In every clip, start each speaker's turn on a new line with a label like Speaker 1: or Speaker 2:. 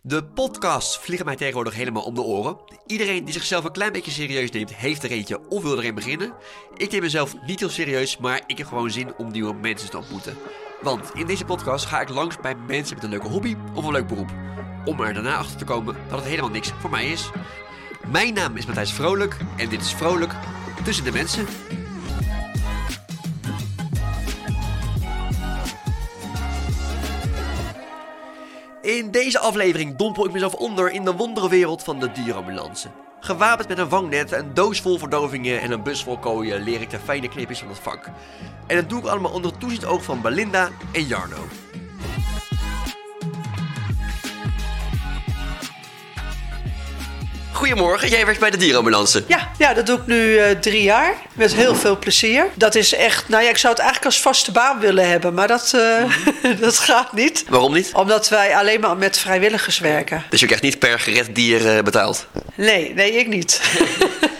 Speaker 1: De podcasts vliegen mij tegenwoordig helemaal om de oren. Iedereen die zichzelf een klein beetje serieus neemt, heeft er eentje of wil erin beginnen. Ik neem mezelf niet heel serieus, maar ik heb gewoon zin om nieuwe mensen te ontmoeten. Want in deze podcast ga ik langs bij mensen met een leuke hobby of een leuk beroep. Om er daarna achter te komen dat het helemaal niks voor mij is. Mijn naam is Matthijs Vrolijk en dit is Vrolijk tussen de mensen. In deze aflevering dompel ik mezelf onder in de wonderenwereld van de dierenambulance. Gewapend met een wangnet, een doos vol verdovingen en een bus vol kooien leer ik de fijne knipjes van het vak. En dat doe ik allemaal onder het toezicht oog van Belinda en Jarno. Goedemorgen, jij werkt bij de dierenambulance.
Speaker 2: Ja, ja, dat doe ik nu eh, drie jaar. Met heel veel plezier. Dat is echt, nou ja, ik zou het eigenlijk als vaste baan willen hebben, maar dat, eh, dat gaat niet.
Speaker 1: Waarom niet?
Speaker 2: Omdat wij alleen maar met vrijwilligers werken.
Speaker 1: Dus je krijgt niet per gered dier eh, betaald.
Speaker 2: Nee, nee, ik niet.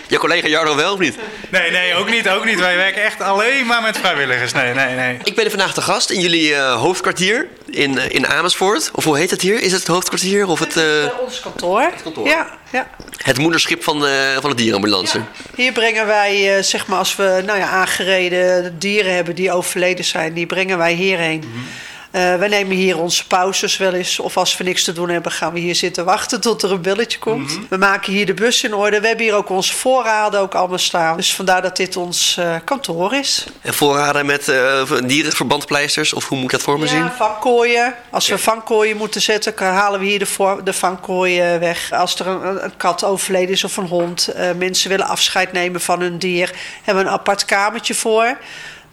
Speaker 1: Je collega Jarno wel of niet?
Speaker 3: Nee, nee, ook niet, ook niet. Wij werken echt alleen maar met vrijwilligers. Nee, nee, nee.
Speaker 1: Ik ben er vandaag te gast in jullie eh, hoofdkwartier in, eh, in Amersfoort. Of hoe heet het hier? Is het het hoofdkwartier of het... eh,
Speaker 2: Bij ons kantoor.
Speaker 1: kantoor.
Speaker 2: Ja, ja.
Speaker 1: Het moederschip van, eh, van de dierenambulance.
Speaker 2: Hier brengen wij, eh, zeg maar, als we nou ja, aangereden dieren hebben die overleden zijn, die brengen wij hierheen. Eh, wij nemen hier onze pauzes wel eens. Of als we niks te doen hebben, gaan we hier zitten wachten tot er een belletje komt. We maken hier de bus in orde. We hebben hier ook onze voorraden ook allemaal staan. Dus vandaar dat dit ons eh, kantoor is.
Speaker 1: En voorraden met eh, dierenverbandpleisters, of hoe moet ik dat voor me zien?
Speaker 2: Ja, vankooien. Als we vankooien moeten zetten, kan- halen we hier de, voor, de vankooien eh, weg. Als er een, een- een kat overleden is of een hond. eh, mensen willen afscheid nemen van hun dier. Hebben we een apart kamertje voor.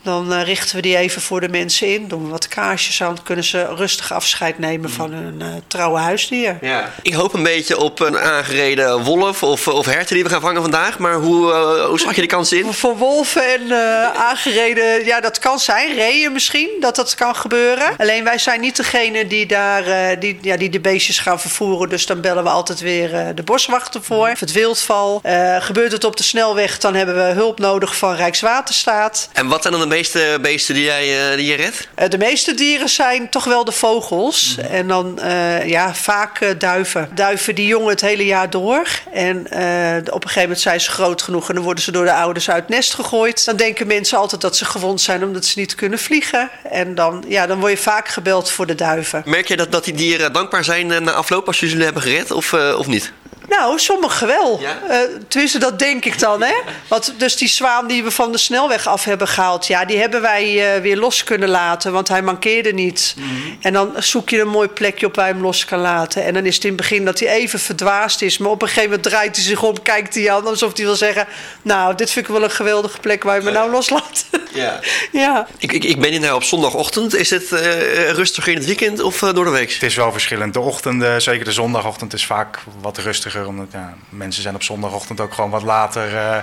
Speaker 2: Dan eh, richten we die even voor de mensen in. Doen we wat kaarsjes aan. Dan kunnen ze rustig afscheid nemen
Speaker 1: Mm.
Speaker 2: van hun eh, trouwe huisdier.
Speaker 1: Ik hoop een beetje op een aangereden wolf of, of herten die we gaan vangen vandaag. Maar hoe, eh, hoe zag je de kans in?
Speaker 2: Voor wolven en eh, aangereden, ja, dat kan zijn. Reeën misschien, dat dat kan gebeuren. Alleen wij zijn niet degene die, daar, eh, die, ja, die de beestjes gaan vervoeren. Dus dan bellen we altijd weer eh, de boswachter voor. Of het wildval. Eh, gebeurt het op de snelweg, dan hebben we hulp nodig van Rijkswaterstaat.
Speaker 1: En wat zijn dan de meeste beesten die jij eh, die je redt?
Speaker 2: Eh, de meeste dieren zijn toch wel de vogels. En dan eh, ja, vaak eh, duiven. Duiven die jongen het hele jaar door. En eh, op een gegeven moment zijn ze groot genoeg en dan worden ze door de ouders uit het nest gegooid. Dan denken mensen altijd dat ze gewond zijn omdat ze niet kunnen vliegen. En dan, ja, dan word je vaak gebeld voor de duiven.
Speaker 1: Merk je dat, dat die dieren dankbaar zijn eh, na afloop als jullie ze hebben gered of, eh, of niet?
Speaker 2: Nou, sommigen wel.
Speaker 1: Ja?
Speaker 2: Eh, tenminste, dat denk ik dan. Hè? Want dus die zwaan die we van de snelweg af hebben gehaald... Ja, die hebben wij eh, weer los kunnen laten, want hij mankeerde niet.
Speaker 1: Mhm.
Speaker 2: En dan zoek je een mooi plekje op waar je hem los kan laten. En dan is het in het begin dat hij even verdwaasd is... maar op een gegeven moment draait hij zich om, kijkt hij aan... alsof hij wil zeggen, nou, dit vind ik wel een geweldige plek... waar je me nou loslaat.
Speaker 1: Ja.
Speaker 2: ja.
Speaker 1: Ik, ik, ik ben in daar op zondagochtend. Is het eh, rustiger in het weekend of eh, door de week?
Speaker 3: Het is wel verschillend. De ochtenden, zeker de zondagochtend, is vaak wat rustiger. Omdat ja, mensen zijn op zondagochtend ook gewoon wat later, eh,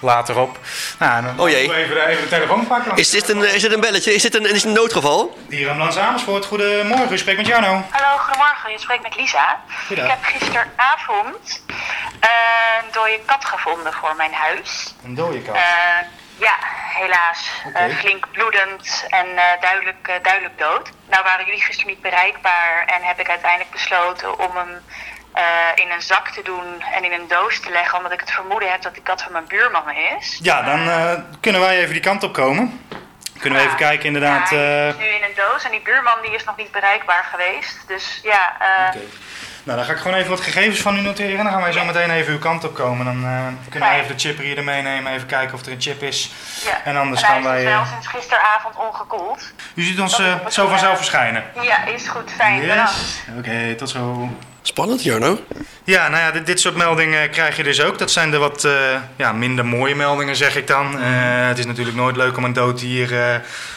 Speaker 3: later op. Nou, en dan
Speaker 1: Oh jee.
Speaker 3: Even, even de telefoon pakken. want-
Speaker 1: Is dit een, eh, is dit een belletje? Is dit een, is dit een noodgeval?
Speaker 3: Dierenambulance Amersfoort, goedemorgen. U spreekt met Jarno.
Speaker 4: Hallo, goedemorgen. Je spreekt met Lisa.
Speaker 3: Goedendag.
Speaker 4: Ik heb gisteravond eh, een dode kat gevonden voor mijn huis.
Speaker 3: Een dode kat.
Speaker 4: Eh, ja, helaas.
Speaker 3: Oké.
Speaker 4: Eh, flink bloedend en eh, duidelijk, eh, duidelijk dood. Nou waren jullie gisteren niet bereikbaar en heb ik uiteindelijk besloten om hem eh, in een zak te doen en in een doos te leggen. Omdat ik het vermoeden heb dat die kat van mijn buurman is.
Speaker 3: Ja, dan eh, kunnen wij even die kant op komen. Kunnen we even
Speaker 4: Ja.
Speaker 3: kijken inderdaad.
Speaker 4: Ja, hij
Speaker 3: eh,
Speaker 4: is nu in een doos en die buurman die is nog niet bereikbaar geweest. Dus ja, eh,
Speaker 3: Nou, dan ga ik gewoon even wat gegevens van u noteren. En dan gaan wij zo meteen even uw kant op komen. Dan eh, kunnen wij even de chip hier meenemen. Even kijken of er een chip is.
Speaker 4: ja.
Speaker 3: En anders
Speaker 4: hij
Speaker 3: gaan
Speaker 4: is
Speaker 3: wij. eh,
Speaker 4: wel sinds gisteravond ongekoeld.
Speaker 3: u ziet ons
Speaker 4: dat
Speaker 3: eh,
Speaker 4: is wat
Speaker 3: zo
Speaker 4: we-
Speaker 3: vanzelf verschijnen.
Speaker 4: Ja, is goed. Fijn. bedankt.
Speaker 3: Oké, tot zo.
Speaker 1: Spannend, Jarno.
Speaker 3: Ja, nou ja, dit, dit soort meldingen krijg je dus ook. Dat zijn de wat eh, ja, minder mooie meldingen, zeg ik dan. Eh, het is natuurlijk nooit leuk om een dood dier eh,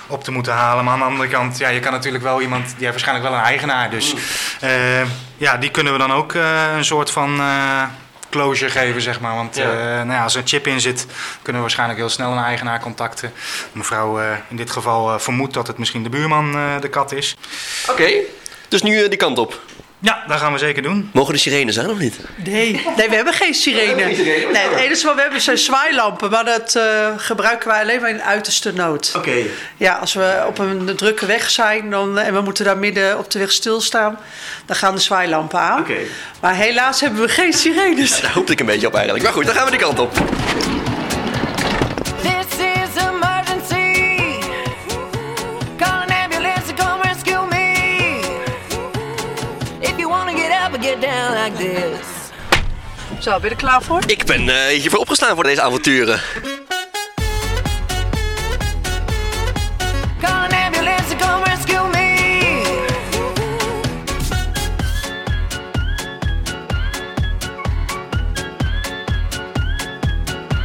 Speaker 3: op te moeten halen. Maar aan de andere kant, ja, je kan natuurlijk wel iemand... Die heeft waarschijnlijk wel een eigenaar, dus... eh, ja, die kunnen we dan ook eh, een soort van... eh, closure geven, zeg maar. Want
Speaker 1: Ja.
Speaker 3: eh, nou ja, als er een chip in zit, kunnen we waarschijnlijk heel snel een eigenaar contacten. Mevrouw eh, in dit geval eh, vermoedt dat het misschien de buurman eh, de kat is.
Speaker 1: Oké, dus nu eh, die kant op.
Speaker 3: Ja, dat gaan we zeker doen.
Speaker 1: Mogen de sirenes aan of niet?
Speaker 2: Nee. nee, we hebben geen sirene. Nee, het enige wat we hebben zijn zwaailampen, maar dat eh, gebruiken wij alleen maar in uiterste nood.
Speaker 1: Oké.
Speaker 2: Ja, als we op een drukke weg zijn dan, en we moeten daar midden op de weg stilstaan, dan gaan de zwaailampen aan.
Speaker 1: Oké.
Speaker 2: Maar helaas hebben we geen sirenes.
Speaker 1: Daar hoopte ik een beetje op eigenlijk. Maar goed, dan gaan we die kant op.
Speaker 5: This is emergency. Call an ambulance to come rescue me. If you wanna get up and get down like this.
Speaker 2: Zo, ben je er klaar voor?
Speaker 1: Ik ben eh, hiervoor opgestaan voor deze avonturen.
Speaker 5: Call an ambulance to come rescue me.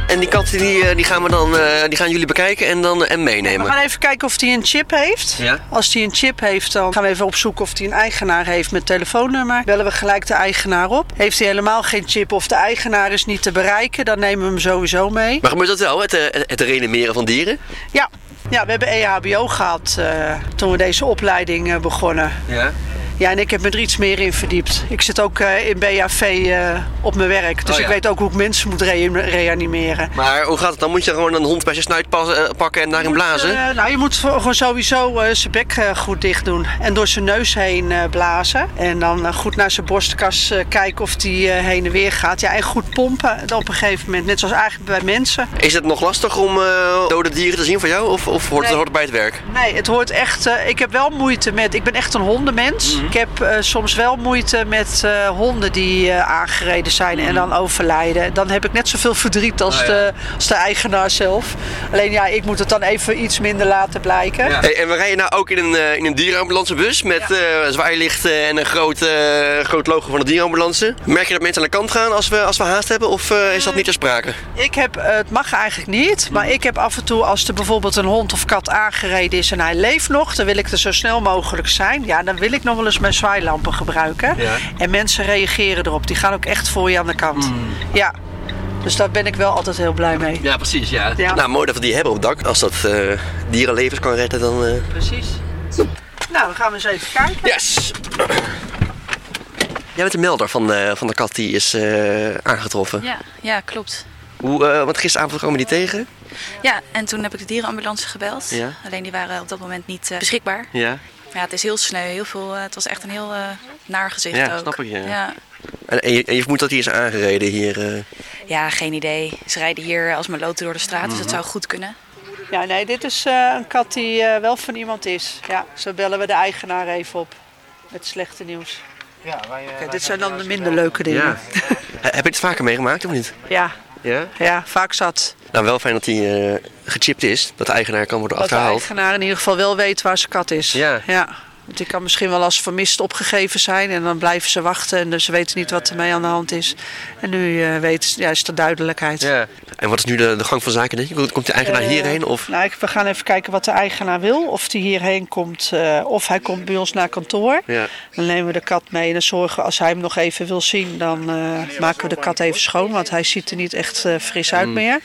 Speaker 1: En die kat die, eh, die gaan we dan, eh, die gaan jullie bekijken en dan eh, en
Speaker 2: We
Speaker 1: meenemen.
Speaker 2: gaan even kijken of hij een chip heeft.
Speaker 1: Ja.
Speaker 2: Als hij een chip heeft, dan gaan we even opzoeken of hij een eigenaar heeft met telefoonnummer. Bellen we gelijk de eigenaar op. Heeft hij helemaal geen chip of de eigenaar is niet te bereiken, dan nemen we hem sowieso mee.
Speaker 1: Maar gebeurt dat wel, het, eh, het renomeren van dieren?
Speaker 2: Ja, ja we hebben E EHBO gehad eh, toen we deze opleiding eh, begonnen.
Speaker 1: Ja.
Speaker 2: Ja, en ik heb me er iets meer in verdiept. Ik zit ook eh, in BHV eh, op mijn werk. Dus
Speaker 1: Oh, ja.
Speaker 2: ik weet ook hoe ik mensen moet re- reanimeren.
Speaker 1: Maar hoe gaat het dan? Moet je gewoon een hond bij zijn snuit passen, eh, pakken en daarin blazen?
Speaker 2: Eh, nou, je moet voor- gewoon sowieso eh, zijn bek eh, goed dicht doen. En door zijn neus heen eh, blazen. En dan eh, goed naar zijn borstkas eh, kijken of die eh, heen en weer gaat. Ja, en goed pompen dan op een gegeven moment. Net zoals eigenlijk bij mensen.
Speaker 1: Is het nog lastig om eh, dode dieren te zien voor jou? Of, of hoort, het,
Speaker 2: Nee.
Speaker 1: hoort het bij het werk?
Speaker 2: Nee, het hoort echt. eh, ik heb wel moeite met. Ik ben echt een hondenmens. Ik heb eh, soms wel moeite met eh, honden die eh, aangereden zijn en dan overlijden. Dan heb ik net zoveel verdriet als,
Speaker 1: Ah, ja.
Speaker 2: de, als de eigenaar zelf. Alleen ja, ik moet het dan even iets minder laten blijken.
Speaker 1: Hey, en we rijden nou ook in een, eh, in een dierenambulancebus met eh, zwaailichten en een groot, eh, groot logo van de dierenambulance. Merk je dat mensen aan de kant gaan als we, als we haast hebben of eh, is dat niet ter sprake?
Speaker 2: Ik heb, eh, het mag eigenlijk niet, maar ik heb af en toe als er bijvoorbeeld een hond of kat aangereden is en hij leeft nog, dan wil ik er zo snel mogelijk zijn. Ja, dan wil ik nog wel eens mijn zwaailampen gebruiken.
Speaker 1: Ja.
Speaker 2: En mensen reageren erop. Die gaan ook echt voor je aan de kant.
Speaker 3: Mm.
Speaker 2: Ja, dus daar ben ik wel altijd heel blij mee.
Speaker 1: Ja, precies, ja.
Speaker 2: Ja.
Speaker 1: Nou, mooi dat we die hebben op het dak. Als dat eh, dierenlevens kan redden, dan... eh,
Speaker 2: Precies. Nou, dan gaan we eens even kijken.
Speaker 1: Yes! Jij bent de melder van, eh, van de kat die is eh, aangetroffen.
Speaker 6: Ja, ja, klopt.
Speaker 1: Hoe, eh, want gisteravond kwamen we die tegen.
Speaker 6: Ja, en toen heb ik de dierenambulance gebeld.
Speaker 1: Ja.
Speaker 6: Alleen die waren op dat moment niet eh, beschikbaar.
Speaker 1: Ja.
Speaker 6: Maar ja, het is heel sneu. Heel veel, eh, het was echt een heel eh, naar gezicht
Speaker 1: Ja,
Speaker 6: ook.
Speaker 1: snap ik, ja.
Speaker 6: Ja.
Speaker 1: En, en je, en je vermoedt dat die is aangereden hier. eh.
Speaker 6: Ja, geen idee. Ze rijden hier als maloten door de straat, dus dat
Speaker 1: Mhm.
Speaker 6: zou goed kunnen.
Speaker 2: Ja, nee, dit is eh, een kat die eh, wel van iemand is. Ja, zo bellen we de eigenaar even op. Met slechte nieuws.
Speaker 3: Ja, wij, eh,
Speaker 2: dit zijn dan de minder leuke dingen.
Speaker 1: Ja. He- Heb je het vaker meegemaakt of niet?
Speaker 2: ja,
Speaker 1: Ja.
Speaker 2: ja vaak zat.
Speaker 1: Nou, wel fijn dat die eh, gechipt is. Dat de eigenaar kan worden
Speaker 2: Dat de
Speaker 1: achterhaald.
Speaker 2: eigenaar in ieder geval wel weet waar zijn kat is.
Speaker 1: Ja.
Speaker 2: Want die kan misschien wel als vermist opgegeven zijn en dan blijven ze wachten en dus ze weten niet wat ermee aan de hand is. En nu eh, weet, ja, is er duidelijkheid.
Speaker 1: Ja. En wat is nu de, de gang van zaken? denk je? Komt de eigenaar
Speaker 2: Eh,
Speaker 1: hierheen? Of...
Speaker 2: Nou, ik- we gaan even kijken wat de eigenaar wil. Of die hierheen komt eh, of hij komt bij ons naar kantoor.
Speaker 1: Ja.
Speaker 2: Dan nemen we de kat mee en dan zorgen we, als hij hem nog even wil zien, dan eh, maken we de kat even schoon. Want hij ziet er niet echt eh, fris
Speaker 1: Mm.
Speaker 2: uit meer.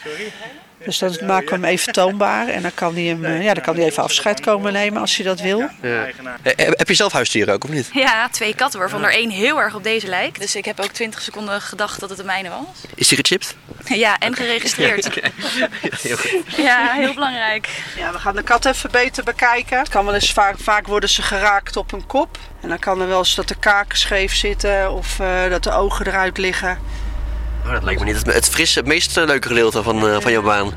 Speaker 2: Dus dan maken we hem even toonbaar en dan kan hij, hem, eh, ja, dan kan hij even afscheid komen nemen als hij dat wil.
Speaker 1: He- he- Eh, Heb je zelf huisdieren ook of niet?
Speaker 6: Ja, twee katten waarvan er één heel erg op deze lijkt. Dus ik heb ook 20 seconden gedacht dat het de mijne was.
Speaker 1: Is die gechipt?
Speaker 6: Ja, en geregistreerd. Ja, heel belangrijk.
Speaker 2: Ja, we gaan de kat even beter bekijken. Het kan wel eens vaak, vaak worden ze geraakt op een kop. En dan kan er wel eens dat de kaken scheef zitten of eh, dat de ogen eruit liggen.
Speaker 1: Oh, dat lijkt me niet het, het frisse, het meest eh, leuke gedeelte van, eh, van jouw baan.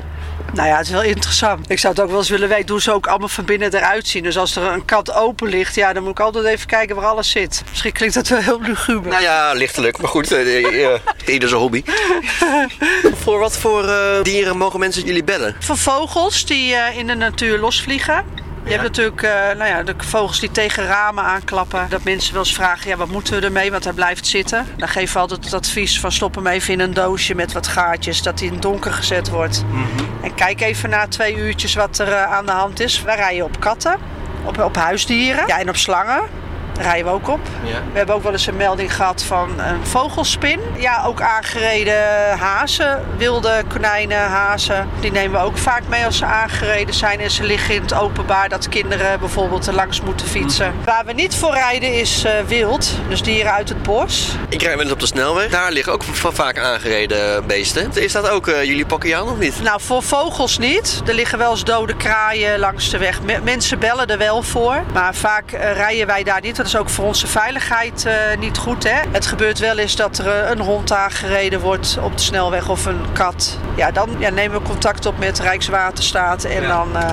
Speaker 2: Nou ja, het is wel interessant. Ik zou het ook wel eens willen weten hoe ze ook allemaal van binnen eruit zien. Dus als er een kat open ligt, ja, dan moet ik altijd even kijken waar alles zit. Misschien klinkt dat wel heel luguber.
Speaker 1: Nou ja, lichtelijk, maar goed. eh, eh, eh, Ieder zijn hobby. voor wat voor eh, dieren mogen mensen jullie bellen?
Speaker 2: Van vogels die eh, in de natuur losvliegen. Je hebt natuurlijk eh, nou ja, de vogels die tegen ramen aanklappen. Dat mensen wel eens vragen, ja, wat moeten we ermee? Want hij blijft zitten. Dan geven we altijd het advies van stop hem even in een doosje met wat gaatjes. Dat hij in het donker gezet wordt. En kijk even na twee uurtjes wat er eh, aan de hand is. Wij rijden op katten, op, op huisdieren ja, en op slangen. rijden we ook op.
Speaker 1: Ja.
Speaker 2: We hebben ook wel eens een melding gehad van een vogelspin. Ja, ook aangereden hazen, wilde konijnen, hazen. Die nemen we ook vaak mee als ze aangereden zijn en ze liggen in het openbaar dat kinderen bijvoorbeeld er langs moeten fietsen. Waar we niet voor rijden is eh, wild, dus dieren uit het bos.
Speaker 1: Ik rijd wel eens op de snelweg. Daar liggen ook va- vaak aangereden beesten. Is dat ook eh, jullie pakken je aan of niet?
Speaker 2: Nou, voor vogels niet. Er liggen wel eens dode kraaien langs de weg. Me- mensen bellen er wel voor. Maar vaak eh, rijden wij daar niet. Dat is ook voor onze veiligheid eh, niet goed. Hè? Het gebeurt wel eens dat er eh, een hond aangereden wordt op de snelweg of een kat. Ja, dan ja, nemen we contact op met Rijkswaterstaat en dan. eh,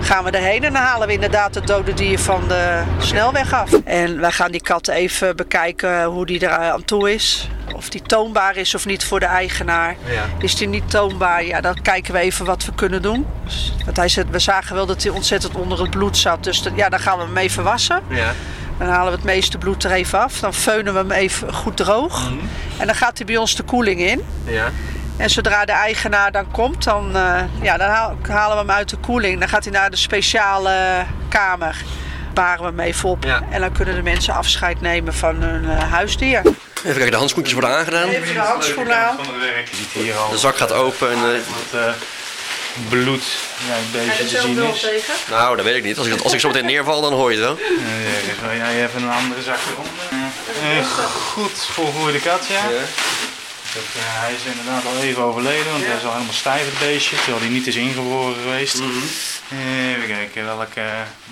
Speaker 2: Gaan we erheen en dan halen we inderdaad het dode dier van de snelweg af. En wij gaan die kat even bekijken hoe die er eh, aan toe is. Of die toonbaar is of niet voor de eigenaar. Is die niet toonbaar? Ja, dan kijken we even wat we kunnen doen. Want hij zegt, we zagen wel dat hij ontzettend onder het bloed zat. Dus dat- ja, dan gaan we hem even wassen.
Speaker 1: Ja.
Speaker 2: Dan halen we het meeste bloed er even af. Dan feunen we hem even goed droog. En dan gaat hij bij ons de koeling in.
Speaker 1: Ja.
Speaker 2: En zodra de eigenaar dan komt, dan, eh, ja, dan haal- halen we hem uit de koeling. Dan gaat hij naar de speciale kamer. Baren we hem even op.
Speaker 1: Ja.
Speaker 2: En dan kunnen de mensen afscheid nemen van hun eh, huisdier.
Speaker 1: Even kijken, de handschoentjes worden aangedaan.
Speaker 2: Even de handschoenen aan.
Speaker 3: Van het werk. Je ziet hier al
Speaker 1: De zak gaat open. En, eh,
Speaker 3: wat eh, bloed ja, een beetje te zien is.
Speaker 2: tegen?
Speaker 1: nou, dat weet ik niet. Als ik, als ik zo meteen neerval, dan hoor je het wel.
Speaker 3: Eh, Wil jij even een andere zak eronder? Eh, goed volgroeide kat, ja. Dat, eh, hij is inderdaad al even overleden, want hij is al helemaal stijf het beestje, terwijl hij niet is ingeboren geweest. Eh, even kijken welke...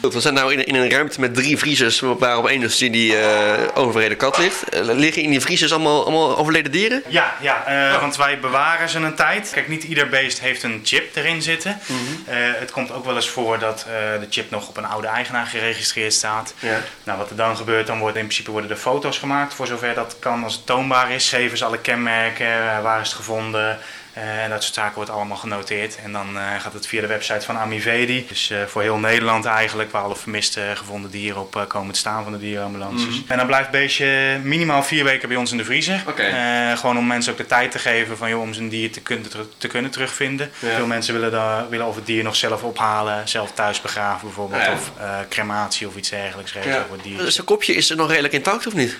Speaker 1: Goed, we zijn nou in, in een ruimte met drie vriezers, waar op één dus die, die eh, overleden kat ligt. Eh, liggen in die vriezers allemaal, allemaal overleden dieren?
Speaker 3: Ja, ja eh, want wij bewaren ze een tijd. Kijk, niet ieder beest heeft een chip erin zitten. Eh, het komt ook wel eens voor dat eh, de chip nog op een oude eigenaar geregistreerd staat.
Speaker 1: Ja.
Speaker 3: Nou, wat er dan gebeurt, dan worden in principe worden er foto's gemaakt. Voor zover dat kan, als het toonbaar is. Geven ze alle kenmerken, eh, waar is het gevonden. eh, en dat soort zaken wordt allemaal genoteerd. En dan eh, gaat het via de website van Amivedi. Dus eh, voor heel Nederland eigenlijk, waar alle vermiste eh, gevonden dieren op eh, komen te staan van de dierenambulances. En dan blijft beestje minimaal vier weken bij ons in de vriezer.
Speaker 1: Mhm. Oké.
Speaker 3: Eh, gewoon om mensen ook de tijd te geven van, joh, om zijn dier te kunnen, ter- te kunnen terugvinden.
Speaker 1: Ja.
Speaker 3: Veel mensen willen, daar, willen of het dier nog zelf ophalen, zelf thuis begraven bijvoorbeeld.
Speaker 1: Ja.
Speaker 3: Of eh, crematie of iets dergelijks regelen voor het dier.
Speaker 1: Dus Zijn kopje is er nog redelijk intact of niet?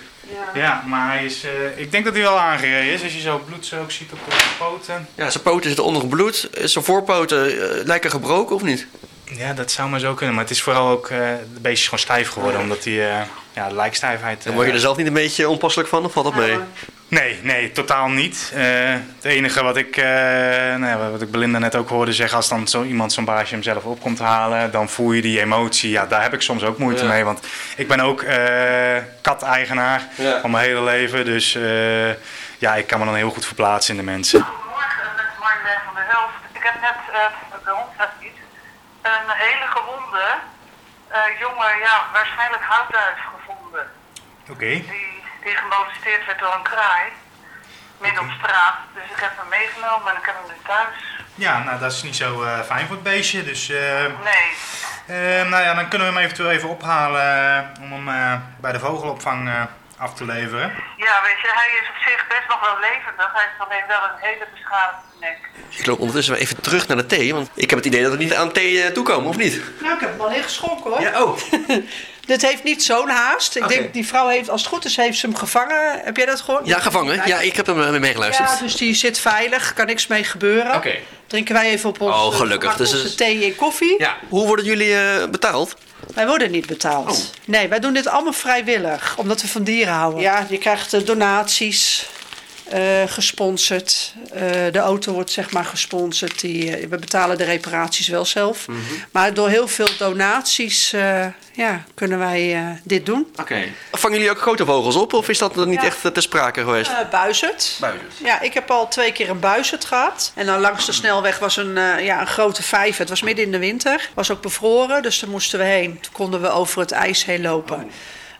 Speaker 3: Ja, maar hij is, eh, ik denk dat hij wel aangereden is. Als je zo bloed zo ook ziet op de poten.
Speaker 1: Ja, zijn poten zitten onder het bloed. Eh, Zijn voorpoten eh, lijken gebroken of niet?
Speaker 3: Ja, dat zou maar zo kunnen. Maar het is vooral ook, eh de beest is gewoon stijf geworden. Omdat hij, eh, ja, de lijkstijfheid...
Speaker 1: Dan
Speaker 3: eh,
Speaker 1: word je dus- er zelf niet een beetje onpasselijk van of valt dat mee?
Speaker 3: Nee, nee, totaal niet. Eh, het enige wat ik, eh, nou ja, wat ik Belinda net ook hoorde zeggen, als dan zo iemand zo'n baasje hem zelf op komt halen, dan voel je die emotie. Ja, daar heb ik soms ook moeite
Speaker 1: Ja.
Speaker 3: mee, want ik ben ook eh kat-eigenaar
Speaker 1: Ja.
Speaker 3: van mijn hele leven. Dus eh, ja, ik kan me dan heel goed verplaatsen in de mensen.
Speaker 7: Morgen met Marjolein van der Helft. Ik heb net, eh bij ons gaat niet, een hele gewonde eh, jongen, ja, waarschijnlijk houtduif gevonden.
Speaker 3: Oké.
Speaker 7: Die, die gemolesteerd werd door een kraai, midden op straat. Dus ik heb hem meegenomen en ik heb hem nu thuis.
Speaker 3: Ja, nou dat is niet zo eh, fijn voor het beestje, dus... eh,
Speaker 7: Nee,
Speaker 3: Eh, nou ja, dan kunnen we hem eventueel even ophalen eh, om hem eh, bij de vogelopvang eh, af te leveren.
Speaker 7: ja, weet je, hij is op zich best nog wel levendig. Hij heeft alleen wel een hele beschadigde nek.
Speaker 1: Ik loop ondertussen wel even terug naar de thee, want ik heb het idee dat we niet aan thee eh, toekomen, of niet?
Speaker 2: Nou, ik heb hem al ingeschonken hoor.
Speaker 1: Ja, oh.
Speaker 2: Dit heeft niet zo'n haast. Ik
Speaker 1: Oké.
Speaker 2: denk, die vrouw heeft, als het goed is, heeft ze hem gevangen. Heb jij dat gehoord?
Speaker 1: Ja, gevangen. Ja, ik heb hem eh, meegeluisterd.
Speaker 2: Ja, dus die zit veilig, kan niks mee gebeuren.
Speaker 1: Oké.
Speaker 2: Drinken wij even op ons,
Speaker 1: Oh, gelukkig.
Speaker 2: op
Speaker 1: Dus
Speaker 2: onze
Speaker 1: het is-
Speaker 2: thee en koffie.
Speaker 1: Ja. Hoe worden jullie eh, betaald?
Speaker 2: Wij worden niet betaald. Nee, wij doen dit allemaal vrijwillig, omdat we van dieren houden. Oh. Ja, je krijgt eh, donaties, eh, gesponsord. Eh, de auto wordt zeg maar gesponsord. Die, eh, we betalen de reparaties wel zelf. Maar door heel veel donaties eh, ja, kunnen wij eh, dit doen.
Speaker 1: Oké. Vangen jullie ook grote vogels op, of is dat nog niet echt eh, te sprake geweest?
Speaker 2: Eh buizerd.
Speaker 1: Buizerd. Mm.
Speaker 2: Ja, ik heb al twee keer een buizerd gehad. En dan langs de snelweg was een, eh, ja, een grote vijver. Het was midden in de winter. Was ook bevroren, dus daar moesten we heen. Toen konden we over het ijs heen lopen.
Speaker 1: Oh.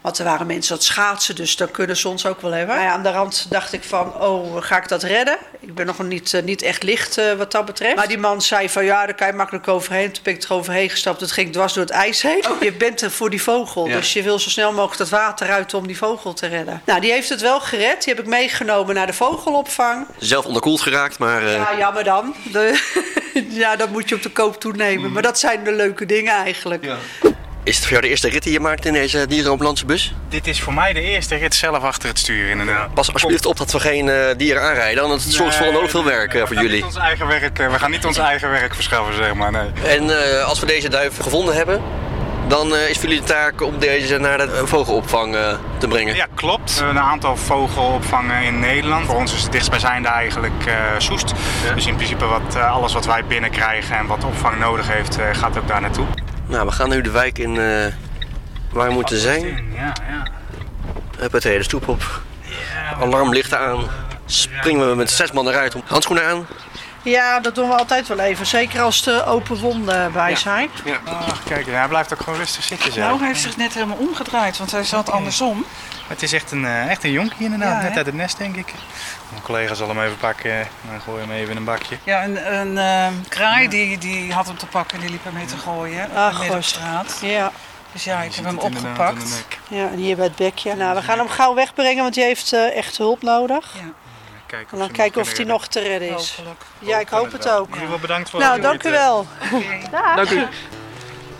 Speaker 2: Want er waren mensen dat schaatsen, dus dat kunnen ze ons ook wel hebben. Maar ja, aan de rand dacht ik van, oh, ga ik dat redden? Ik ben nog niet, eh, niet echt licht eh, wat dat betreft. Maar die man zei van, ja, daar kan je makkelijk overheen. Toen ben ik er overheen gestapt, het ging dwars door het ijs heen. Je bent er voor die vogel,
Speaker 1: Oh. Ja.
Speaker 2: dus je wil zo snel mogelijk dat water uit om die vogel te redden. Nou, die heeft het wel gered. Die heb ik meegenomen naar de vogelopvang.
Speaker 1: Zelf onderkoeld geraakt, maar... eh,
Speaker 2: Ja, jammer dan. De, Mm. ja, dat moet je op de koop toenemen. Maar dat zijn de leuke dingen eigenlijk.
Speaker 1: Ja. Is het voor jou de eerste rit die je maakt in deze dierenambulance bus?
Speaker 3: Dit is voor mij de eerste rit zelf achter het stuur inderdaad.
Speaker 1: Pas alsjeblieft op dat we geen eh, dieren aanrijden, want het zorgt voor onnodig veel werk eh, voor jullie.
Speaker 3: Ons eigen werk, eh, we gaan niet ons eigen werk verschaffen, zeg maar. Nee.
Speaker 1: En eh, als we deze duif gevonden hebben, dan eh, is voor jullie de taak om deze naar de eh, vogelopvang eh, te brengen.
Speaker 3: Ja, klopt. We hebben een aantal vogelopvangen in Nederland. Voor ons is het dichtstbijzijnde eigenlijk eh, Soest. Dus in principe wat, eh, alles wat wij binnenkrijgen en wat opvang nodig heeft, eh, gaat ook daar naartoe.
Speaker 1: Nou, we gaan nu de wijk in eh, waar we moeten zijn.
Speaker 3: Ja, ja.
Speaker 1: Hup, de stoep op. Alarmlichten aan. Springen we met zes man eruit. Handschoenen aan.
Speaker 2: Ja, dat doen we altijd wel even. Zeker als de open wonden bij zijn.
Speaker 3: Ach, kijk, hij blijft ook gewoon rustig zitten zo.
Speaker 8: Nou, hij heeft zich net helemaal omgedraaid, want hij zat andersom.
Speaker 3: Het is echt een, eh, echt een jonkie inderdaad,
Speaker 8: Ja,
Speaker 3: net
Speaker 8: hè?
Speaker 3: uit het nest denk ik. Mijn collega zal hem even pakken en gooi hem even in een bakje.
Speaker 8: Ja, een, een eh, kraai Die, die had hem te pakken en die liep hem mee te gooien.
Speaker 2: Ach,
Speaker 8: midden op
Speaker 2: gosh.
Speaker 8: straat.
Speaker 2: Ja.
Speaker 8: Dus ja, ik heb hem
Speaker 3: Inderdaad, eh, aan de
Speaker 8: opgepakt.
Speaker 3: nek.
Speaker 2: ja, en hier bij het bekje. Nou, we gaan hem gauw wegbrengen, want die heeft eh, echt hulp nodig.
Speaker 8: Ja,
Speaker 3: Kijken
Speaker 2: En
Speaker 3: ze hem
Speaker 2: dan kijken of
Speaker 3: kunnen
Speaker 2: die
Speaker 3: redden.
Speaker 2: nog te redden is.
Speaker 8: hopelijk.
Speaker 2: Ja, ik hoop het ook.
Speaker 3: In ieder geval bedankt voor
Speaker 2: Nou,
Speaker 3: het
Speaker 2: dank u wel.
Speaker 1: Dank u. Nou,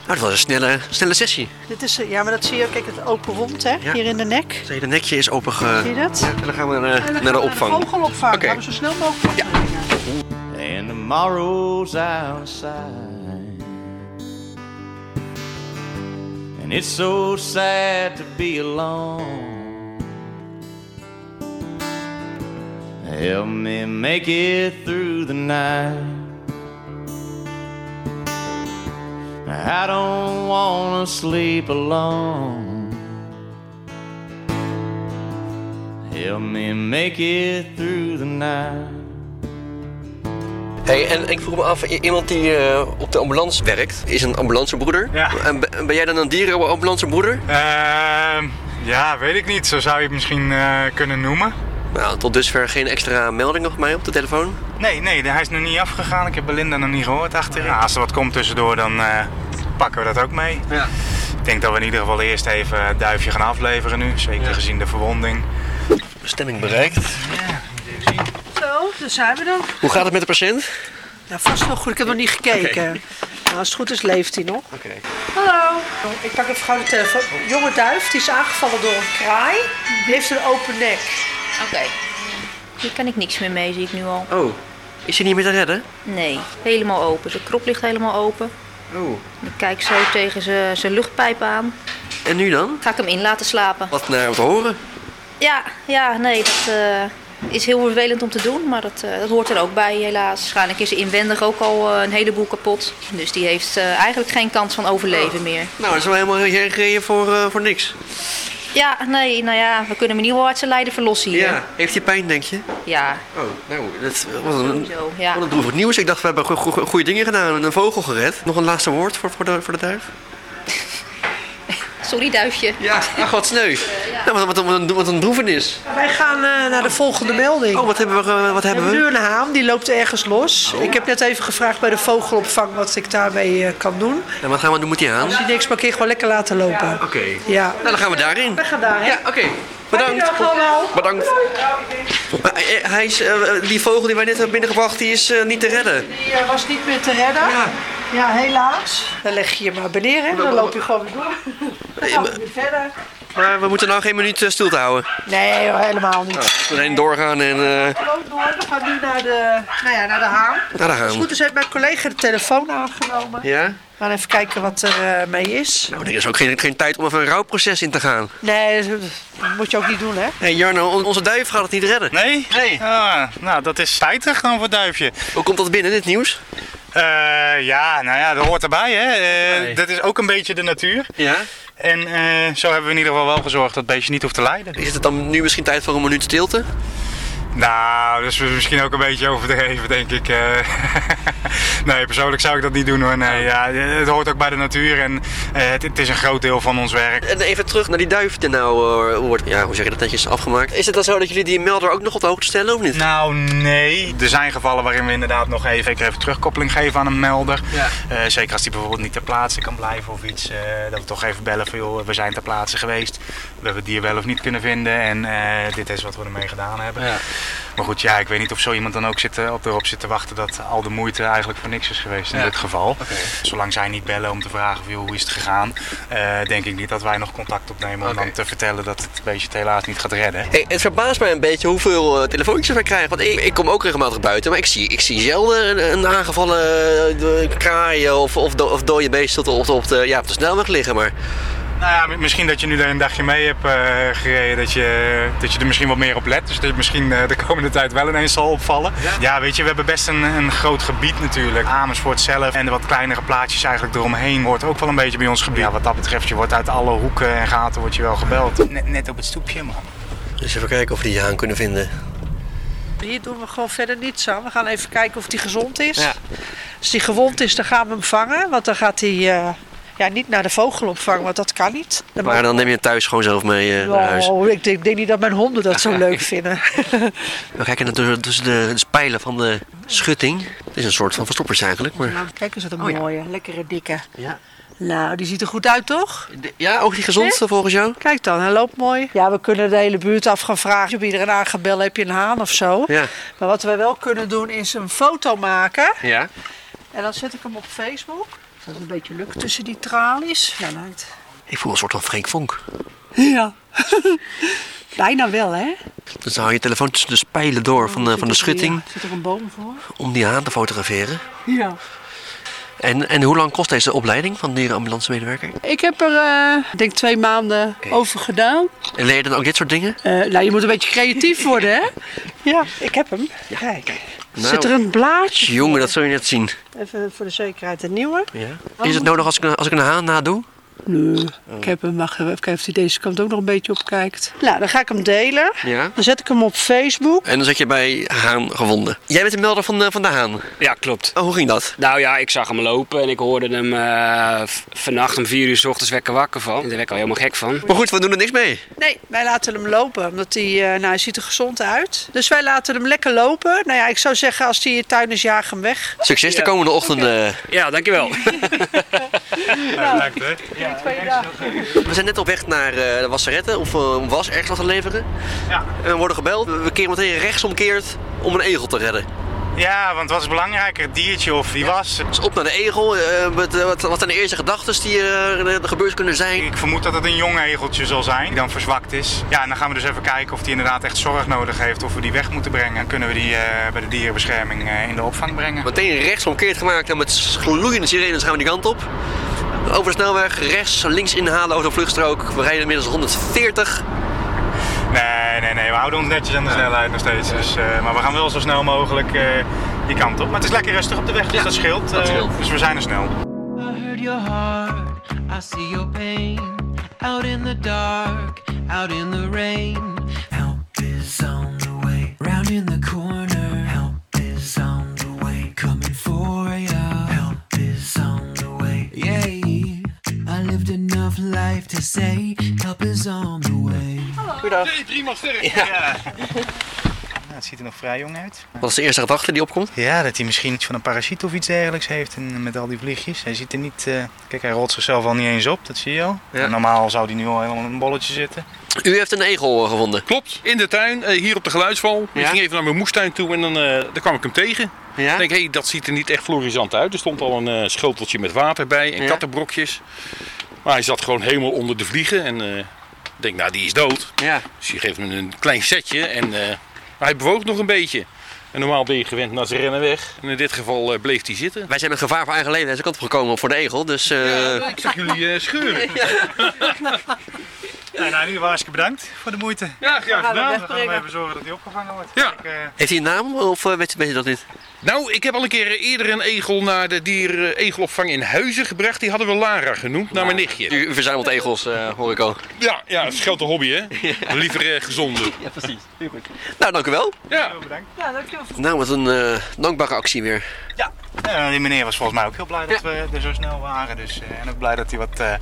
Speaker 1: dat was een snelle, snelle sessie.
Speaker 2: Dit is, eh, ja, maar dat zie je ook. Kijk, het open wond, hè? Hier in de nek.
Speaker 1: Het hele nekje is open.
Speaker 2: Zie je dat?
Speaker 1: En dan gaan we naar, de- naar de opvang.
Speaker 2: vogelopvang.
Speaker 1: Oké.
Speaker 2: Gaan we zo snel mogelijk opbrengen.
Speaker 9: and tomorrow's outside. And it's so sad to be alone. Help me make it through the night. I don't wanna sleep alone. Help me make it through the night.
Speaker 1: Hey, en ik vroeg me af, i- iemand die eh, op de ambulance werkt, is een ambulancebroeder.
Speaker 3: Ja.
Speaker 1: En ben- ben jij dan een dierenambulancebroeder?
Speaker 3: Ehm, ja, weet ik niet. Zo zou je het misschien eh, kunnen noemen.
Speaker 1: Nou, tot dusver geen extra meldingen op mij op de telefoon.
Speaker 3: Nee, nee, hij is nog niet afgegaan. Ik heb Belinda nog niet gehoord achterin. Nou, als er wat komt tussendoor, dan eh, pakken we dat ook mee. Ik denk dat we in ieder geval eerst even het duifje gaan afleveren nu. Zeker gezien de verwonding.
Speaker 1: Bestemming bereikt.
Speaker 2: Zo, daar zijn we dan.
Speaker 1: Hoe gaat het met de patiënt?
Speaker 2: Nou, vast wel goed. Ik heb nog niet gekeken. Nou, als het goed is, leeft hij nog. Hallo. Ik pak even gauw de telefoon. Jonge duif, die is aangevallen door een kraai. Die heeft een open nek.
Speaker 10: Oké. Hier kan ik niks meer mee, zie ik nu al.
Speaker 1: Oh, is hij niet meer te redden?
Speaker 10: Nee, helemaal open. Zijn krop ligt helemaal open.
Speaker 1: Oh.
Speaker 10: Ik kijk zo tegen zijn zijn luchtpijp aan.
Speaker 1: En nu dan?
Speaker 10: Ga ik hem in laten slapen?
Speaker 1: Wat naar te horen.
Speaker 10: Ja, ja, nee, dat eh, is heel vervelend om te doen. Maar dat, eh, dat hoort er ook bij, helaas. Waarschijnlijk is er inwendig ook al eh, een heleboel kapot. Dus die heeft eh, eigenlijk geen kans van overleven meer.
Speaker 1: Nou, dat is wel helemaal geen gereden voor, eh, voor niks.
Speaker 10: Ja, nee, nou ja, we kunnen hem in ieder geval uit zijn lijden verlossen hier.
Speaker 1: Heeft hij pijn, denk je?
Speaker 10: ja.
Speaker 1: Oh, nou, dat was een,
Speaker 10: Sowieso, ja.
Speaker 1: wat een droevig nieuws. Ik dacht, we hebben go- go- goede dingen gedaan en een vogel gered. Nog een laatste woord voor, voor, de, voor de duif?
Speaker 10: Sorry, duifje.
Speaker 1: Ja, ach, wat sneu. Ah, Nou, wat, wat, wat, een, wat een droevenis.
Speaker 2: Wij gaan eh, naar de volgende melding.
Speaker 1: Oh, wat hebben we? eh, Wat
Speaker 2: we
Speaker 1: hebben
Speaker 2: hebben nu
Speaker 1: we?
Speaker 2: een haan, die loopt ergens los. Ik heb net even gevraagd bij de vogelopvang wat ik daarmee eh, kan doen.
Speaker 1: En wat gaan we doen met die aan?
Speaker 2: Als
Speaker 1: Oké.
Speaker 2: die niks markeert, gewoon lekker laten lopen. Ja.
Speaker 1: Nou, dan gaan we daarin.
Speaker 2: We gaan daarheen.
Speaker 1: Ja, oké. Bedankt.
Speaker 2: Dag allemaal.
Speaker 1: Bedankt. Maar, eh, Hij is, eh, die vogel die wij net hebben binnengebracht, die is eh, niet te redden.
Speaker 2: Die eh, was niet meer te redden. Ja. helaas. Dan leg je je maar beneden en dan loop je gewoon weer door. Dan gaan we weer verder.
Speaker 1: Maar we moeten nou geen minuut eh, stil te houden.
Speaker 2: Nee, hoor, helemaal
Speaker 1: Oh.
Speaker 2: niet.
Speaker 1: Meteen doorgaan en... eh
Speaker 2: Gewoon door. We gaan nu naar de, nou ja, naar de haan.
Speaker 1: nou, daar gaan
Speaker 2: Als
Speaker 1: we.
Speaker 2: het goed is heeft mijn collega de telefoon aangenomen.
Speaker 1: Ja?
Speaker 2: We gaan even kijken wat er eh, mee is.
Speaker 1: Nou, er is ook geen, geen tijd om even een rouwproces in te gaan.
Speaker 2: Nee, dat moet je ook niet doen, hè?
Speaker 1: Hé Jarno, on- onze duif gaat het niet redden.
Speaker 3: Nee?
Speaker 1: Nee.
Speaker 3: Ah, nou, dat is spijtig dan voor Duifje.
Speaker 1: Hoe komt dat binnen, dit nieuws?
Speaker 3: Eh, ja, nou ja, dat hoort erbij hè. Eh, Dat is ook een beetje de natuur.
Speaker 1: Ja.
Speaker 3: En eh, zo hebben we in ieder geval wel gezorgd dat het beestje niet hoeft te lijden.
Speaker 1: Is het dan nu misschien tijd voor een minuut stilte?
Speaker 3: Nou, dat is misschien ook een beetje overdreven, denk ik. Eh, nee, persoonlijk zou ik dat niet doen hoor. Nee, ja, het hoort ook bij de natuur en eh, het, het is een groot deel van ons werk.
Speaker 1: En even terug naar die duif die nou eh, wordt, ja, hoe zeg je dat netjes, afgemaakt. Is het dan zo dat jullie die melder ook nog op de hoogte stellen of niet?
Speaker 3: Nou, nee. Er zijn gevallen waarin we inderdaad nog even, zeker even terugkoppeling geven aan een melder.
Speaker 1: Ja.
Speaker 3: Eh, zeker als die bijvoorbeeld niet ter plaatse kan blijven of iets. eh, dat we toch even bellen van, joh, we zijn ter plaatse geweest. We hebben het dier wel of niet kunnen vinden en eh, dit is wat we ermee gedaan hebben. Maar goed, ja, ik weet niet of zo iemand dan ook zit, eh, op erop zit te wachten dat al de moeite eigenlijk voor niks is geweest in
Speaker 11: Ja.
Speaker 3: dit geval. Zolang zij niet bellen om te vragen van, joh, hoe is het gegaan, eh, denk ik niet dat wij nog contact opnemen om dan te vertellen dat het beestje het helaas niet gaat redden.
Speaker 1: Hey, het verbaast mij een beetje hoeveel eh, telefoontjes wij krijgen. Want ik, ik kom ook regelmatig buiten, maar ik zie, ik zie zelden een, een aangevallen eh, kraaien of, of, do- of dode beesten op de, op de, op de- ja, op de snelweg liggen. Maar
Speaker 3: Nou ja, mi- misschien dat je nu daar een dagje mee hebt eh, gereden, dat je, dat je er misschien wat meer op let. Dus dat je misschien eh, de komende tijd wel ineens zal opvallen. Ja, weet je, we hebben best een, een groot gebied natuurlijk. Amersfoort zelf en de wat kleinere plaatjes eigenlijk eromheen hoort ook wel een beetje bij ons gebied. Ja, wat dat betreft, je wordt uit alle hoeken en gaten wordt je wel gebeld. Net, net op het stoepje, man.
Speaker 1: dus even kijken of we die aan kunnen vinden.
Speaker 2: Hier doen we gewoon verder niets aan. We gaan even kijken of die gezond is.
Speaker 1: Ja.
Speaker 2: Als die gewond is, dan gaan we hem vangen. Want dan gaat hij eh, ja, niet naar de vogel opvangen, want dat kan niet. Dan
Speaker 1: Maar dan neem je het thuis gewoon zelf mee eh, naar huis.
Speaker 2: Oh, ik denk, denk niet dat mijn honden dat zo leuk vinden.
Speaker 1: We kijken naar tussen, tussen de dus pijlen van de schutting. Het is een soort van verstoppers eigenlijk. Maar...
Speaker 2: Nou, kijk eens wat een
Speaker 1: Oh, ja.
Speaker 2: mooie, lekkere dikke. Nou, die ziet er goed uit, toch?
Speaker 1: ja, ook die gezondste volgens jou.
Speaker 2: Kijk dan, hij loopt mooi. Ja, we kunnen de hele buurt af gaan vragen. Heb je iedereen aangebellen, heb je een haan of zo?
Speaker 1: Ja.
Speaker 2: Maar wat we wel kunnen doen, is een foto maken.
Speaker 1: Ja.
Speaker 2: En dan zet ik hem op Facebook. Als dat een beetje lukt tussen die tralies. Ja, lijkt.
Speaker 1: Ik voel een soort van Freek Vonk.
Speaker 2: Ja. Bijna wel, hè?
Speaker 1: Dus dan hou je telefoon tussen de spijlen door van, de- van de schutting
Speaker 2: Ja, zit er een boom voor?
Speaker 1: om die haan te fotograferen.
Speaker 2: Ja.
Speaker 1: En, en hoe lang kost deze opleiding van dierenambulance medewerker?
Speaker 2: Ik heb er, eh, ik denk twee maanden over gedaan.
Speaker 1: En leer je dan ook dit soort dingen?
Speaker 2: Eh, nou, je moet een beetje creatief worden, hè? Ja, ik heb hem. Kijk.
Speaker 1: Nou.
Speaker 2: Zit er een blaadje?
Speaker 1: Jongen, dat zul je net zien.
Speaker 2: Even voor de zekerheid een nieuwe.
Speaker 1: Ja. Is het nodig als ik, een- als ik een haan nadoe?
Speaker 2: Nee.
Speaker 1: Oh.
Speaker 2: Ik heb hem, mag even kijken of hij deze kant ook nog een beetje opkijkt. Nou, dan ga ik hem delen.
Speaker 1: Ja.
Speaker 2: Dan zet ik hem op Facebook.
Speaker 1: En dan zet je bij haan gewonden. Jij bent de melder van de, van de haan.
Speaker 12: Ja, klopt.
Speaker 1: hoe ging dat?
Speaker 12: Nou ja, ik zag hem lopen en ik hoorde hem eh, v- vannacht om vier uur s ochtends wekker wakker van. En daar werd ik al helemaal gek van.
Speaker 1: Maar goed, we doen er niks mee.
Speaker 2: Nee, wij laten hem lopen, omdat hij, eh, nou, hij ziet er gezond uit. Dus wij laten hem lekker lopen. Nou ja, ik zou zeggen, als hij je tuin is, jaag hem weg.
Speaker 1: Succes de komende ochtend. eh.
Speaker 12: Ja, dankjewel.
Speaker 3: lijkt het.
Speaker 2: Twee dagen.
Speaker 1: We zijn net op weg naar eh, de wasseretten of eh, om was ergens wat te leveren.
Speaker 3: Ja.
Speaker 1: En we worden gebeld. We- We keren meteen rechtsomkeerd om een egel te redden.
Speaker 3: Ja, want wat is belangrijker, het diertje of die was?
Speaker 1: Dus op naar de egel. eh, met, eh, wat, wat zijn de eerste gedachten die eh, er gebeurd kunnen zijn?
Speaker 3: Ik vermoed dat het een jong egeltje zal zijn, die dan verzwakt is. Ja, en dan gaan we dus even kijken of die inderdaad echt zorg nodig heeft, of we die weg moeten brengen. Kunnen we die eh, bij de dierenbescherming eh, in de opvang brengen?
Speaker 1: Meteen rechtsomkeerd gemaakt en met gloeiende sirenes gaan we die kant op. Over de snelweg, rechts, links inhalen over de vluchtstrook. We rijden inmiddels 140.
Speaker 3: Nee, nee, nee. We houden ons netjes aan de snelheid nog steeds. Dus, eh, maar we gaan wel zo snel mogelijk eh, die kant op. Maar het is lekker rustig op de weg, dus dat scheelt. eh, dus we zijn er snel.
Speaker 13: I heard your heart, I see your pain. Out in the dark, out in the rain. Help is on the way, round in the corner. Help is on the way, coming for ya. Help is on the way, yay. I lived enough life to say, help is on the way.
Speaker 1: Goedendag.
Speaker 3: Prima sterk.
Speaker 1: Ja.
Speaker 3: het ziet er nog vrij jong uit.
Speaker 1: Wat is de eerste gedachte die opkomt?
Speaker 3: Ja, dat hij misschien iets van een parasiet of iets dergelijks heeft en met al die vliegjes. Hij ziet er niet... eh, Kijk, hij rolt zichzelf al niet eens op, dat zie je al. En Normaal zou hij nu al helemaal in een bolletje zitten.
Speaker 1: U heeft een egel eh, gevonden.
Speaker 14: Klopt, in de tuin, eh, hier op de geluidsval.
Speaker 1: Ja.
Speaker 14: Ik ging even naar mijn moestuin toe en dan, eh, daar kwam ik hem tegen. Ik denk, hé, dat ziet er niet echt florisant uit. Er stond al een eh, schoteltje met water bij en
Speaker 1: Ja.
Speaker 14: kattenbrokjes. Maar hij zat gewoon helemaal onder de vliegen. En eh, ik denk, nou, die is dood. Dus je geeft hem een klein setje en eh, hij bewoog nog een beetje. En normaal ben je gewend naar ze rennen weg. En in dit geval eh, bleef hij zitten.
Speaker 1: Wij zijn met gevaar voor eigen leven deze kant op gekomen voor de egel. Dus, eh,
Speaker 14: Ik zag jullie eh, scheuren.
Speaker 3: Nou, nou, in ieder geval hartstikke bedankt voor de moeite.
Speaker 2: Nou,
Speaker 14: Ja, graag
Speaker 3: gedaan.
Speaker 14: gedaan.
Speaker 3: We gaan hem even zorgen dat hij opgevangen wordt.
Speaker 14: Ja.
Speaker 3: Ik, eh,
Speaker 1: Heeft hij een naam of eh, weet, weet je dat niet?
Speaker 14: Nou, ik heb al een keer eerder een egel naar de dier, eh, egelopvang in Huizen gebracht. Die hadden we Lara genoemd, naar mijn nichtje.
Speaker 1: U verzamelt egels, eh, hoor ik al.
Speaker 14: Ja, ja, dat is grote hobby, hè? Liever eh, gezonde. Ja, precies. Heel goed.
Speaker 1: Nou, dank u wel.
Speaker 14: Ja.
Speaker 3: Bedankt.
Speaker 2: Ja, dankjewel.
Speaker 1: Nou, wat een eh, dankbare actie weer.
Speaker 3: Ja, nou, die meneer was volgens mij ook heel blij dat we er zo snel waren. Dus, eh, en ook blij dat hij wat eh,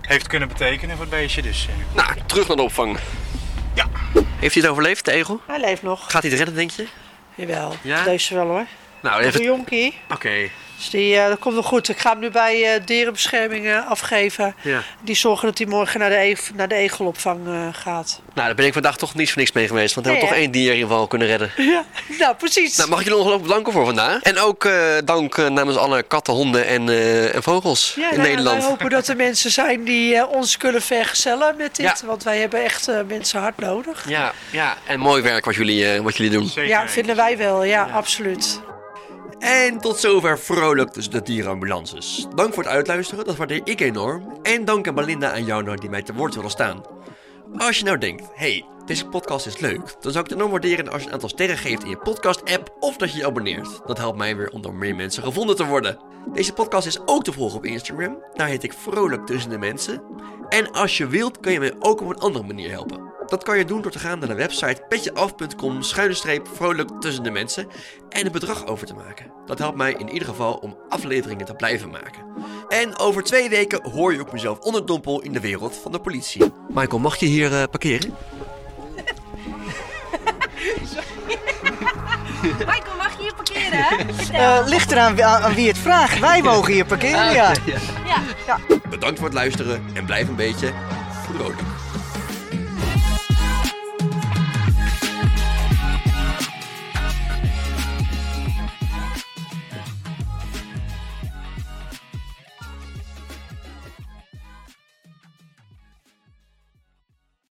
Speaker 3: heeft kunnen betekenen voor het beestje. Dus, eh.
Speaker 1: Nou, terug naar de opvang. Ja. Heeft hij het overleefd, de egel?
Speaker 2: Hij leeft nog.
Speaker 1: Gaat hij het redden, denk je?
Speaker 2: Jawel,
Speaker 1: Ja?
Speaker 2: deze wel hoor.
Speaker 1: Nou,
Speaker 2: Tot
Speaker 1: even...
Speaker 2: de jonkie.
Speaker 1: Oké.
Speaker 3: Nou,
Speaker 2: Dus die, eh, dat komt wel goed. Ik ga hem nu bij eh, dierenbescherming eh, afgeven.
Speaker 3: Ja.
Speaker 2: Die zorgen dat hij morgen naar de, e- naar de egelopvang eh, gaat.
Speaker 3: Nou, daar ben ik vandaag toch niets voor niks mee geweest. Want we hebben
Speaker 2: Nee,
Speaker 3: toch
Speaker 2: hè?
Speaker 3: één dier in ieder geval kunnen redden.
Speaker 2: Ja, nou precies.
Speaker 3: Nou, mag ik jullie ongelooflijk bedanken voor vandaag. En ook eh, dank eh, namens alle katten, honden en, eh, en vogels
Speaker 2: ja,
Speaker 3: in
Speaker 2: nou ja,
Speaker 3: Nederland.
Speaker 2: wij hopen dat er mensen zijn die eh, ons kunnen vergezellen met dit.
Speaker 3: Ja.
Speaker 2: Want wij hebben echt eh, mensen hard nodig.
Speaker 3: Ja, ja, en mooi werk wat jullie, eh, wat jullie doen.
Speaker 2: Ja, vinden wij wel. ja. absoluut.
Speaker 1: En tot zover vrolijk tussen de dierenambulances. Dank voor het uitluisteren, dat waardeer ik enorm. En dank aan Belinda en Jarno die mij te woord willen staan. Als je nou denkt, hey, deze podcast is leuk, dan zou ik het enorm waarderen als je een aantal sterren geeft in je podcast-app of dat je je abonneert. Dat helpt mij weer om door meer mensen gevonden te worden. Deze podcast is ook te volgen op Instagram. Daar heet ik Vrolijk Tussen de Mensen. En als je wilt, kun je mij ook op een andere manier helpen. Dat kan je doen door te gaan naar de website petjeaf.com schuine streep vrolijk tussen de mensen en een bedrag over te maken. Dat helpt mij in ieder geval om afleveringen te blijven maken. En over twee weken hoor je ook mezelf onderdompel in de wereld van de politie. Michael, mag je hier eh, parkeren?
Speaker 15: Michael, mag je hier parkeren?
Speaker 16: Eh, ligt eraan wie- aan, aan wie het vraagt. Wij
Speaker 15: Ah,
Speaker 16: mogen hier parkeren, ja.
Speaker 1: Bedankt voor het luisteren en blijf een beetje vrolijk.